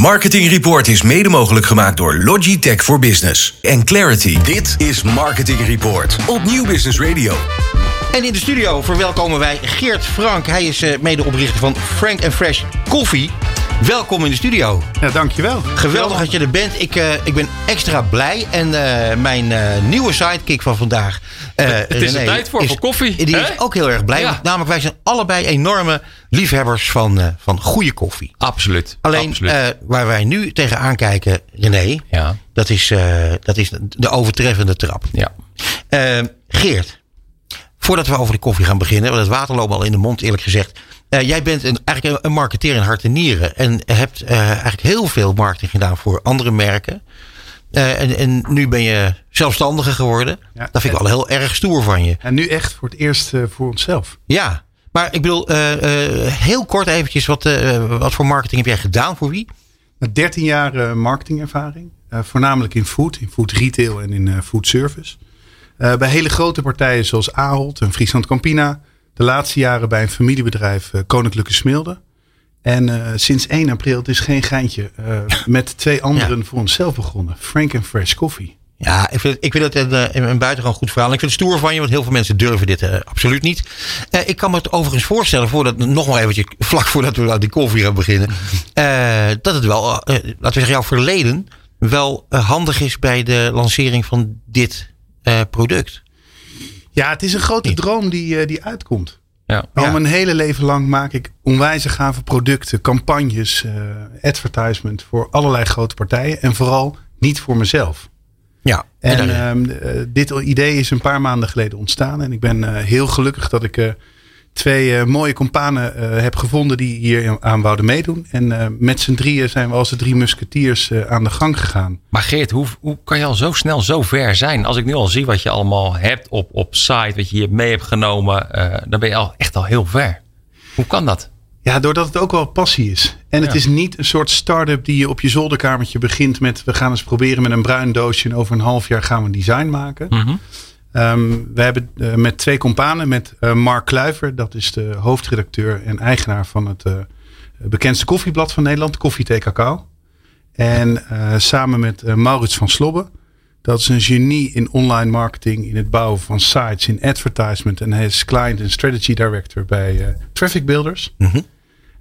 Marketing Report is mede mogelijk gemaakt door Logitech voor Business en Clarity. Dit is Marketing Report op Nieuw Business Radio. En in de studio verwelkomen wij Geert Frank. Hij is eh, medeoprichter van Frank Fresh Coffee. Welkom in de studio. Ja, dankjewel. Geweldig dat je er bent. Ik, eh, ik ben extra blij. En eh, mijn eh, nieuwe sidekick van vandaag. eh, het is er René, tijd voor, voor koffie, Die hè? is ook heel erg blij. Ja. want namelijk, wij zijn allebei enorme liefhebbers van, eh, van goede koffie. Absoluut. Alleen Absoluut. eh, waar wij nu tegenaan kijken, René, Ja. dat, is, eh, dat is de overtreffende trap. ja. Eh, Geert, voordat we over de koffie gaan beginnen, want het water loopt al in de mond, eerlijk gezegd. Eh, jij bent een, eigenlijk een- een marketeer in hart en nieren. En hebt eh, eigenlijk heel veel marketing gedaan voor andere merken. Eh, en, en nu ben je zelfstandige geworden. Ja. dat vind ik wel heel erg stoer van je. En nu echt voor het eerst eh, voor onszelf. Ja, maar ik bedoel, eh, eh, heel kort eventjes, wat, eh, wat voor marketing heb jij gedaan? Voor wie? Met 13 jaar eh, marketingervaring. eh, voornamelijk in food, in food retail en in eh, food service. Eh, bij hele grote partijen zoals Ahold en Friesland Campina. De laatste jaren bij een familiebedrijf eh, Koninklijke Smilde. En eh, sinds 1 april, het is geen geintje, eh, met twee anderen voor onszelf begonnen. Frank and Fresh Coffee. Ja, ik vind, het- ik vind het een, eh, een, een buitengewoon goed verhaal. En Ik vind het stoer van je, want heel veel mensen durven dit eh, absoluut niet. Eh, ik kan me het overigens voorstellen, voordat, nog maar eventjes vlak voordat we aan die koffie gaan beginnen. eh, dat het wel, eh, laten we zeggen, jouw verleden wel eh, handig is bij de lancering van dit eh, product. Ja, het is een grote droom die, eh, die uitkomt. ja. Al Ja. Nou, mijn hele leven lang maak ik onwijze gave producten, campagnes, eh, advertisement voor allerlei grote partijen. En vooral niet voor mezelf. Ja, en, En daar- ehm, eh, dit idee is een paar maanden geleden ontstaan. En ik ben eh, heel gelukkig dat ik eh, twee eh, mooie kompanen eh, heb gevonden die hier aan wouden meedoen. En eh, met z'n drieën zijn we als de drie musketiers eh, aan de gang gegaan. Maar Geert, hoe, hoe kan je al zo snel zo ver zijn? Als ik nu al zie wat je allemaal hebt op, op site, wat je hier mee hebt genomen, eh, dan ben je al echt al heel ver. Hoe kan dat? Ja, doordat het ook wel passie is. En het is niet een soort start-up die je op je zolderkamertje begint met... we gaan eens proberen met een bruin doosje en over een half jaar gaan we een design maken. Ehm, we hebben eh, met twee companen, met eh, Mark Kluiver... dat is de hoofdredacteur en eigenaar van het eh, bekendste koffieblad van Nederland... Koffie Thee Cacao. En eh, samen met eh, Maurits van Slobbe. Dat is een genie in online marketing, in het bouwen van sites, in advertisement. En hij is client en strategy director bij eh, Traffic Builders.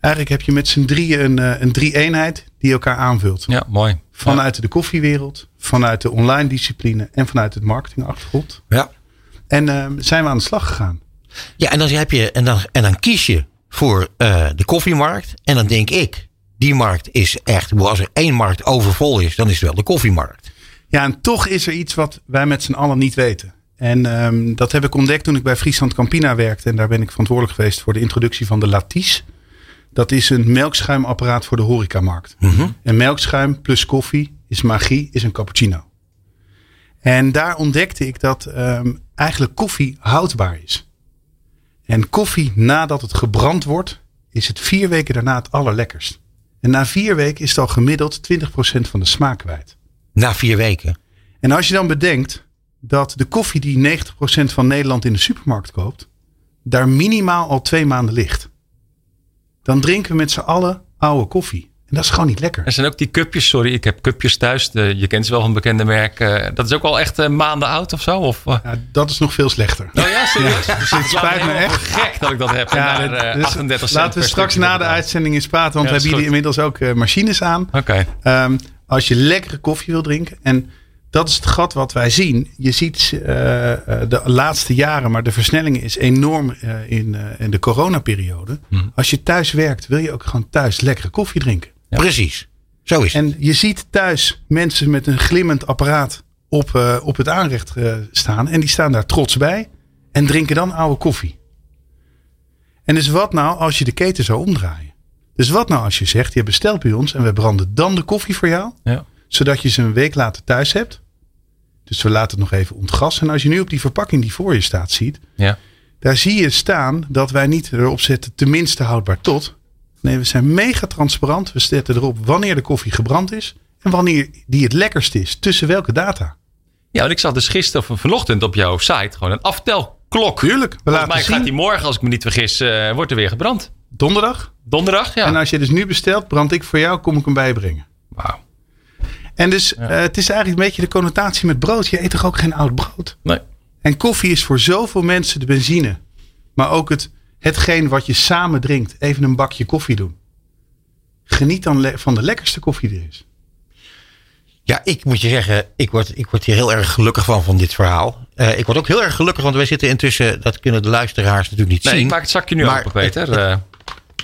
Eigenlijk heb je met z'n drieën een, eh, een drie-eenheid die elkaar aanvult. Ja, mooi. Vanuit de koffiewereld, vanuit de online discipline en vanuit het marketingachtergrond. ja. En eh, zijn we aan de slag gegaan. ja, en dan heb je, en dan, en dan kies je voor eh, de koffiemarkt. En dan denk ik, die markt is echt, ik bedoel, als er één markt overvol is, dan is het wel de koffiemarkt. Ja, en toch is er iets wat wij met z'n allen niet weten. En ehm, dat heb ik ontdekt toen ik bij Friesland Campina werkte. En daar ben ik verantwoordelijk geweest voor de introductie van de Latis. Dat is een melkschuimapparaat voor de horecamarkt. En melkschuim plus koffie is magie, is een cappuccino. En daar ontdekte ik dat ehm, eigenlijk koffie houdbaar is. En koffie nadat het gebrand wordt, is het vier weken daarna het allerlekkerst. En na vier weken is het al gemiddeld 20% van de smaak kwijt. Na vier weken. En als je dan bedenkt dat de koffie die 90% van Nederland in de supermarkt koopt, daar minimaal al twee maanden ligt. Dan drinken we met z'n allen oude koffie. En dat is gewoon niet lekker. Er zijn ook die cupjes, sorry, ik heb cupjes thuis. De- je kent ze wel van bekende merken. dat is ook al echt eh, maanden oud of zo? Of, eh? Ja, dat is nog veel slechter. Oh ja, serieus? Dus het spijt lijkt me helemaal echt. gek dat ik dat heb. Ja, dat- dus 38 eh, cent laten we per straks stukje na de dat ik uitzending eens praten, want Ja, we dat hebben is jullie inmiddels ook eh, machines aan. heb. Oké. Ehm, als je lekkere koffie wil drinken. En dat is het gat wat wij zien. Je ziet eh, eh, de laatste jaren, maar de versnelling is enorm eh, in, eh, in de coronaperiode. Als je thuis werkt, wil je ook gewoon thuis lekkere koffie drinken. Precies. Zo is het. En je ziet thuis mensen met een glimmend apparaat op, eh, op het aanrecht eh, staan. En die staan daar trots bij en drinken dan oude koffie. En dus wat nou als je de keten zou omdraaien? Dus wat nou als je zegt, je bestelt bij ons en we branden dan de koffie voor jou Ja. zodat je ze een week later thuis hebt. Dus we laten het nog even ontgassen. En als je nu op die verpakking die voor je staat ziet, Ja. daar zie je staan dat wij niet erop zetten, tenminste houdbaar tot. Nee, we zijn mega transparant. We zetten erop wanneer de koffie gebrand is en wanneer die het lekkerst is. Tussen welke data? Ja, want ik zag dus gisteren of vanochtend op jouw site gewoon een aftelklok. Tuurlijk, we Volgens mij laten gaat zien. die morgen, als ik me niet vergis, eh, wordt er weer gebrand. Donderdag. Donderdag, ja. En als je dus nu bestelt, brand ik voor jou, kom ik hem bijbrengen. En dus eh, het is eigenlijk een beetje de connotatie met brood. Je eet toch ook geen oud brood? Nee. En koffie is voor zoveel mensen de benzine. Maar ook het, hetgeen wat je samen drinkt. Even een bakje koffie doen. Geniet dan le- van de lekkerste koffie die er is. Ja, ik moet je zeggen, ik word, ik word hier heel erg gelukkig van, van dit verhaal. Eh, ik word ook heel erg gelukkig, want wij zitten intussen, dat kunnen de luisteraars natuurlijk niet Nee, zien. ik maak het zakje nu Maar- open, Peter. Eh,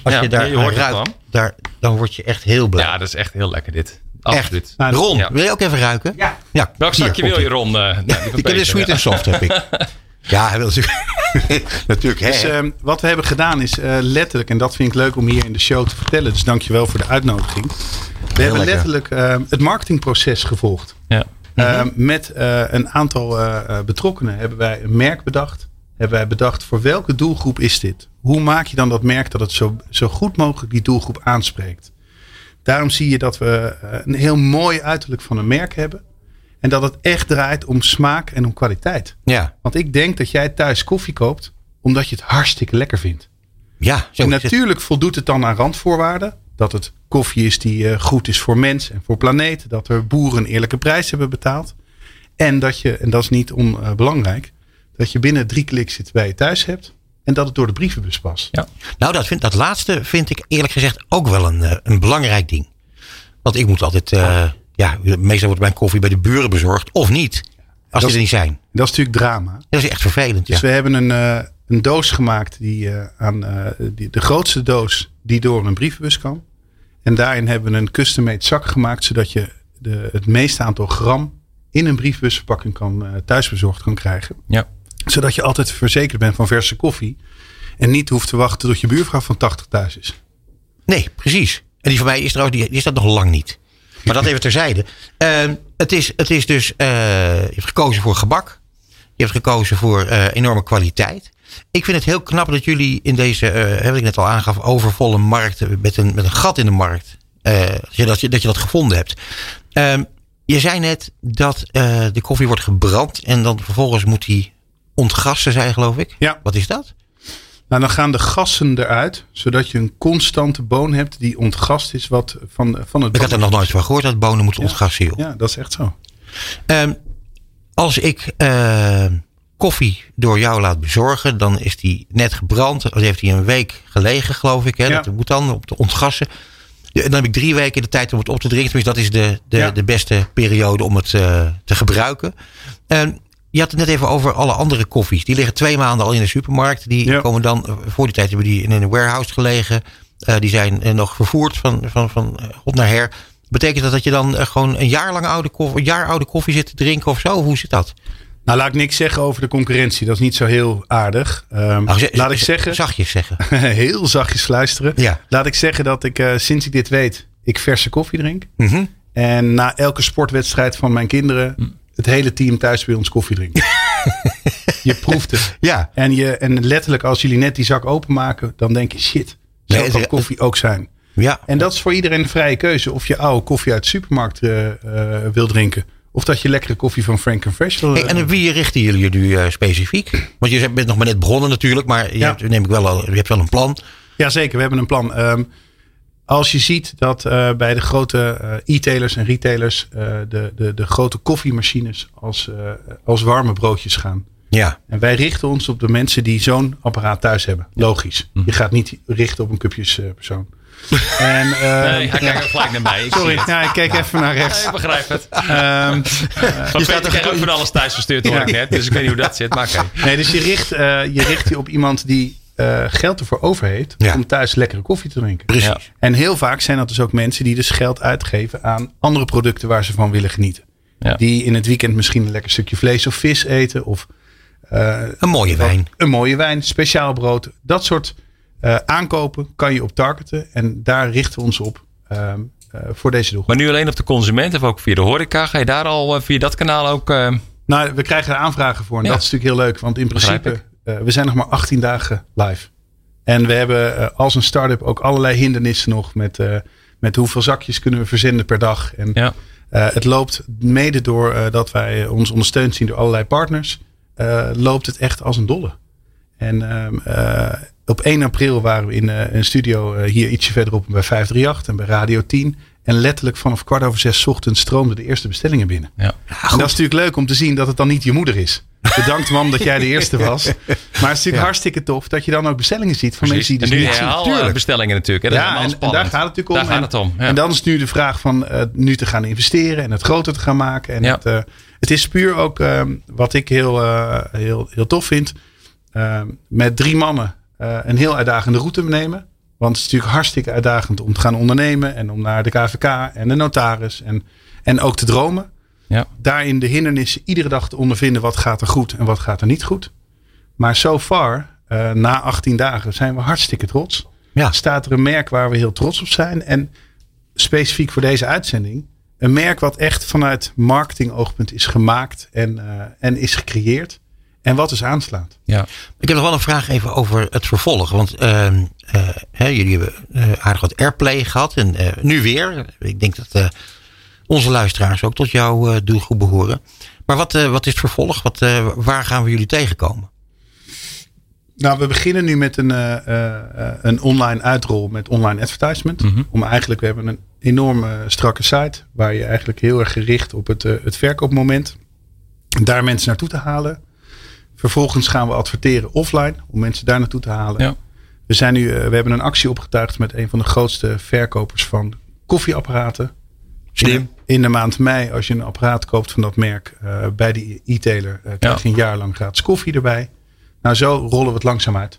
Als ja, je daar je hoort het ruikt, wel. daar, dan word je echt heel blij. Eh, ja, dat is echt heel lekker dit. echt. Absoluut. Nou, Ron, ja. wil je ook even ruiken? Ja. ja Welk hier, zakje komt-ie. wil je, Ron? Eh, nou, die van Ik heb Peter, een sweet ja. en soft, heb ik. Ja, hij wil natuurlijk. natuurlijk, hè. Dus ehm, wat we hebben gedaan is eh, letterlijk, en dat vind ik leuk om hier in de show te vertellen. Dus dankjewel voor de uitnodiging. We hebben lekker. Mhm. letterlijk ehm, het marketingproces gevolgd. Ja. Eh, met eh, een aantal eh, eh, betrokkenen hebben wij een merk bedacht. Hebben wij bedacht voor welke doelgroep is dit? Hoe maak je dan dat merk dat het zo, zo goed mogelijk die doelgroep aanspreekt? Daarom zie je dat we eh, een heel mooi uiterlijk van een merk hebben. En dat het echt draait om smaak en om kwaliteit. ja, Want ik denk dat jij thuis koffie koopt omdat je het hartstikke lekker vindt. ja, zo En is het. natuurlijk voldoet het dan aan randvoorwaarden. Dat het koffie is die eh, goed is voor mens en voor planeet. Dat er boeren een eerlijke prijs hebben betaald. En dat je, en dat is niet onbelangrijk, dat je binnen drie kliks zit bij je thuis hebt. En dat het door de brievenbus past. Ja. Nou, dat, vind, dat laatste vind ik eerlijk gezegd ook wel een, eh, een belangrijk ding. Want ik moet altijd, eh, ja, meestal wordt mijn koffie bij de buren bezorgd, of niet, als dat- die er niet zijn. Dat is natuurlijk drama. Dat is echt vervelend, Dus ja. we hebben een, eh, een doos gemaakt die eh, aan eh, die, de grootste doos die door een brievenbus kan. En daarin hebben we een custom-made zak gemaakt, zodat je de, het meeste aantal gram in een brievenbusverpakking kan eh, thuisbezorgd kan krijgen. Ja. Zodat je altijd verzekerd bent van verse koffie. En niet hoeft te wachten tot je buurvrouw van 80 thuis is. Nee, precies. En die van mij is trouwens, die, die is dat nog lang niet. Maar dat even terzijde. Ehm, het, is, het is dus, eh, je hebt gekozen voor gebak. Je hebt gekozen voor eh, enorme kwaliteit. Ik vind het heel knap dat jullie in deze, eh wat ik net al aangaf, overvolle markt, eh, met een, met een gat in de markt, eh, dat je- dat, je, dat je dat gevonden hebt. Ehm, je zei net dat eh, de koffie wordt gebrand en dan vervolgens moet die ontgassen zijn, geloof ik. Ja. Wat is dat? Nou, dan gaan de gassen eruit, zodat je een constante boon hebt die ontgast is wat van, van het Ik had er nog nooit van gehoord dat bonen moeten ontgassen, joh. Ja, dat is echt zo. Ehm, als ik ehm, koffie door jou laat bezorgen, dan is die net gebrand. Dan heeft die een week gelegen, geloof ik. Hè? Ja. Dat moet dan op te ontgassen. Ja, En dan heb ik drie weken de tijd om het op te drinken. Tenminste, dat is de, de, Ja. de beste periode om het eh, te gebruiken. En je had het net even over alle andere koffies. Die liggen twee maanden al in de supermarkt. Die Ja. komen dan, eh, voor die tijd hebben die in een warehouse gelegen. Eh, die zijn eh, nog vervoerd van, van, van eh, god naar her. Betekent dat dat je dan eh, gewoon een jaar lang oude koffie, een jaar oude koffie zit te drinken of zo? Hoe zit dat? Nou, laat ik niks zeggen over de concurrentie. Dat is niet zo heel aardig. Ehm, Nou, ze- laat ik ze- zeggen, Zachtjes zeggen. heel zachtjes luisteren. Ja. Laat ik zeggen dat ik eh, sinds ik dit weet, ik verse koffie drink. Mhm. En na elke sportwedstrijd van mijn Hm. kinderen, het hele team thuis bij ons koffie drinkt. je proeft het. Ja. En, je, en letterlijk, als jullie net die zak openmaken, dan denk je, shit, zo Nee, het- kan koffie ook zijn. Ja. En dat is voor iedereen een vrije keuze. Of je oude koffie uit de supermarkt eh, eh, wil drinken. Of dat je lekkere koffie van Frank Fresh wil Hey, en op wie richten jullie je nu eh, specifiek? Want je bent nog maar net begonnen natuurlijk, maar je, Ja. hebt, neem ik wel al, je hebt wel een plan. Jazeker, we hebben een plan. Ehm, als je ziet dat eh, bij de grote eh, e-tailers en retailers eh, de, de, de grote koffiemachines als, eh, als warme broodjes gaan. Ja. En wij richten ons op de mensen die zo'n apparaat thuis hebben. Logisch. Je gaat niet richten op een cupjespersoon. en, ehm, Nee, hij kijkt ook gelijk naar mij. Ik sorry, zie het. nou, ik kijk even naar rechts. Nee, ik begrijp het. Ehm, Van Peter krijg ook van alles thuis verstuurd hoor ik net. Dus ik weet niet hoe dat zit. Maar oké. nee, dus je richt, eh, je richt je op iemand die eh, geld ervoor over heeft Ja. om thuis lekkere koffie te drinken. Precies. Ja. En heel vaak zijn dat dus ook mensen die dus geld uitgeven aan andere producten waar ze van willen genieten. Ja. Die in het weekend misschien een lekker stukje vlees of vis eten. Of eh, Een mooie wijn. een mooie wijn, speciaal brood. Dat soort eh, aankopen kan je op targeten. En daar richten we ons op ehm, eh, voor deze doelgroep. Maar nu alleen op de consument of ook via de horeca. Ga je daar al eh, via dat kanaal ook... eh, Nou, we krijgen er aanvragen voor. En Ja. dat is natuurlijk heel leuk. Want in Begrijp principe, eh, we zijn nog maar 18 dagen live. En we hebben eh, als een start-up ook allerlei hindernissen nog. Met, eh, met hoeveel zakjes kunnen we verzenden per dag. En ja. Eh, het loopt mede door eh, dat wij eh, ons ondersteund zien door allerlei partners. eh, loopt het echt als een dolle. En ehm, eh, op 1 april waren we in eh, een studio eh, hier ietsje verderop bij 538 en bij Radio 10. En letterlijk vanaf kwart over zes ochtends stroomden de eerste bestellingen binnen. Ja. en dat is natuurlijk leuk om te zien dat het dan niet je moeder is. Bedankt mam dat jij de eerste was. Maar het is natuurlijk hartstikke tof dat je dan ook bestellingen ziet van Precies. mensen die En dus nu niet zien. herhaal eh, Tuurlijk. bestellingen natuurlijk. Hè. Dat is Ja, en, allemaal en daar spannend. gaat het natuurlijk om. Daar gaat het om. ja. En dan is nu de vraag van eh, nu te gaan investeren en het groter te gaan maken. En Ja. het, eh, het is puur ook eh, wat ik heel, eh, heel, heel tof vind. eh, met drie mannen eh, een heel uitdagende route nemen. Want het is natuurlijk hartstikke uitdagend om te gaan ondernemen. En om naar de KVK en de notaris en, en ook te dromen. Ja. Daarin de hindernissen iedere dag te ondervinden. Wat gaat er goed en wat gaat er niet goed. Maar so far, eh, na 18 dagen, zijn we hartstikke trots. Ja. Staat er een merk waar we heel trots op zijn. En specifiek voor deze uitzending. Een merk wat echt vanuit marketingoogpunt is gemaakt en, eh, en is gecreëerd. En wat dus aanslaat. Ja. Ik heb nog wel een vraag even over het vervolg. Want ehm, eh, hè, jullie hebben eh, aardig wat airplay gehad. En eh, nu weer. Ik denk dat eh, onze luisteraars ook tot jouw eh, doelgroep behoren. Maar wat, eh, wat is het vervolg? Wat, eh, waar gaan we jullie tegenkomen? Nou, we beginnen nu met een, eh, eh, eh, een online uitrol met online advertisement. Om eigenlijk, we hebben een enorme strakke site. Waar je eigenlijk heel erg gericht op het, eh, het verkoopmoment. Daar mensen naartoe te halen. Vervolgens gaan we adverteren offline. Om mensen daar naartoe te halen. Ja. We, zijn nu, eh, we hebben een actie opgetuigd met een van de grootste verkopers van koffieapparaten. In, in de maand mei, als je een apparaat koopt van dat merk eh, bij die e-tailer, eh, krijg je een jaar lang gratis koffie erbij. Nou, zo rollen we het langzaam uit.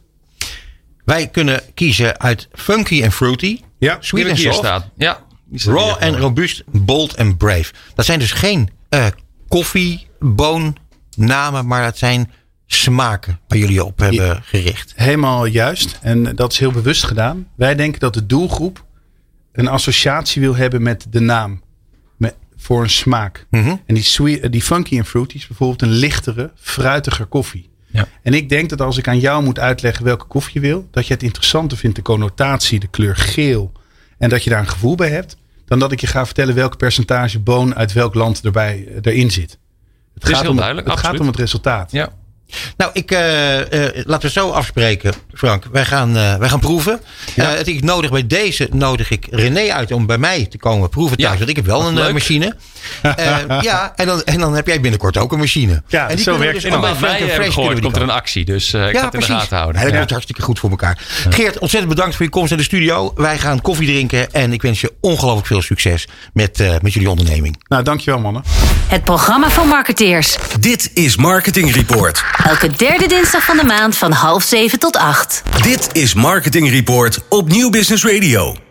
Wij kunnen kiezen uit funky en fruity. Ja, Die Sweet heb en ik hier soft. staat. Ja. Die staat Raw hier. en robuust, bold en brave. Dat zijn dus geen eh koffieboonnamen, maar dat zijn smaken waar jullie je op hebben gericht. helemaal juist. En dat is heel bewust gedaan. Wij denken dat de doelgroep een associatie wil hebben met de naam. Met, voor een smaak. Mhm. En die, sweet, eh, die funky en fruity is bijvoorbeeld een lichtere, fruitiger koffie. Ja. En ik denk dat als ik aan jou moet uitleggen welke koffie je wil, dat je het interessanter vindt de connotatie, de kleur geel. En dat je daar een gevoel bij hebt. Dan dat ik je ga vertellen welk percentage boon uit welk land erbij, eh, erin zit. Het, is gaat, heel om, duidelijk, het gaat absoluut. om het resultaat. Ja. Nou, ik, eh, eh, laten we zo afspreken, Frank. Wij gaan, eh, wij gaan proeven. Eh, het- ik nodig bij deze nodig ik René uit om bij mij te komen proeven thuis. Ja, Want ik heb wel een eh, leuk. machine. Eh, ja, en dan, en dan heb jij binnenkort ook een machine. Ja, en die zo kunnen we werkt dus het. En allemaal omdat wij Frank en hebben Fresh kunnen we gehoord, die komt er kopen. een actie. Dus eh, ik ga het in de gaten houden. Ja, dat Ja. komt hartstikke goed voor elkaar. Geert, ontzettend bedankt voor je komst naar de studio. Wij gaan koffie drinken en ik wens je ongelooflijk veel succes met, eh, met jullie onderneming. Nou, dankjewel mannen. Het programma van marketeers. Dit is Marketing Report. Elke derde dinsdag van de maand van half zeven tot acht. Dit is Marketing Report op Nieuw Business Radio.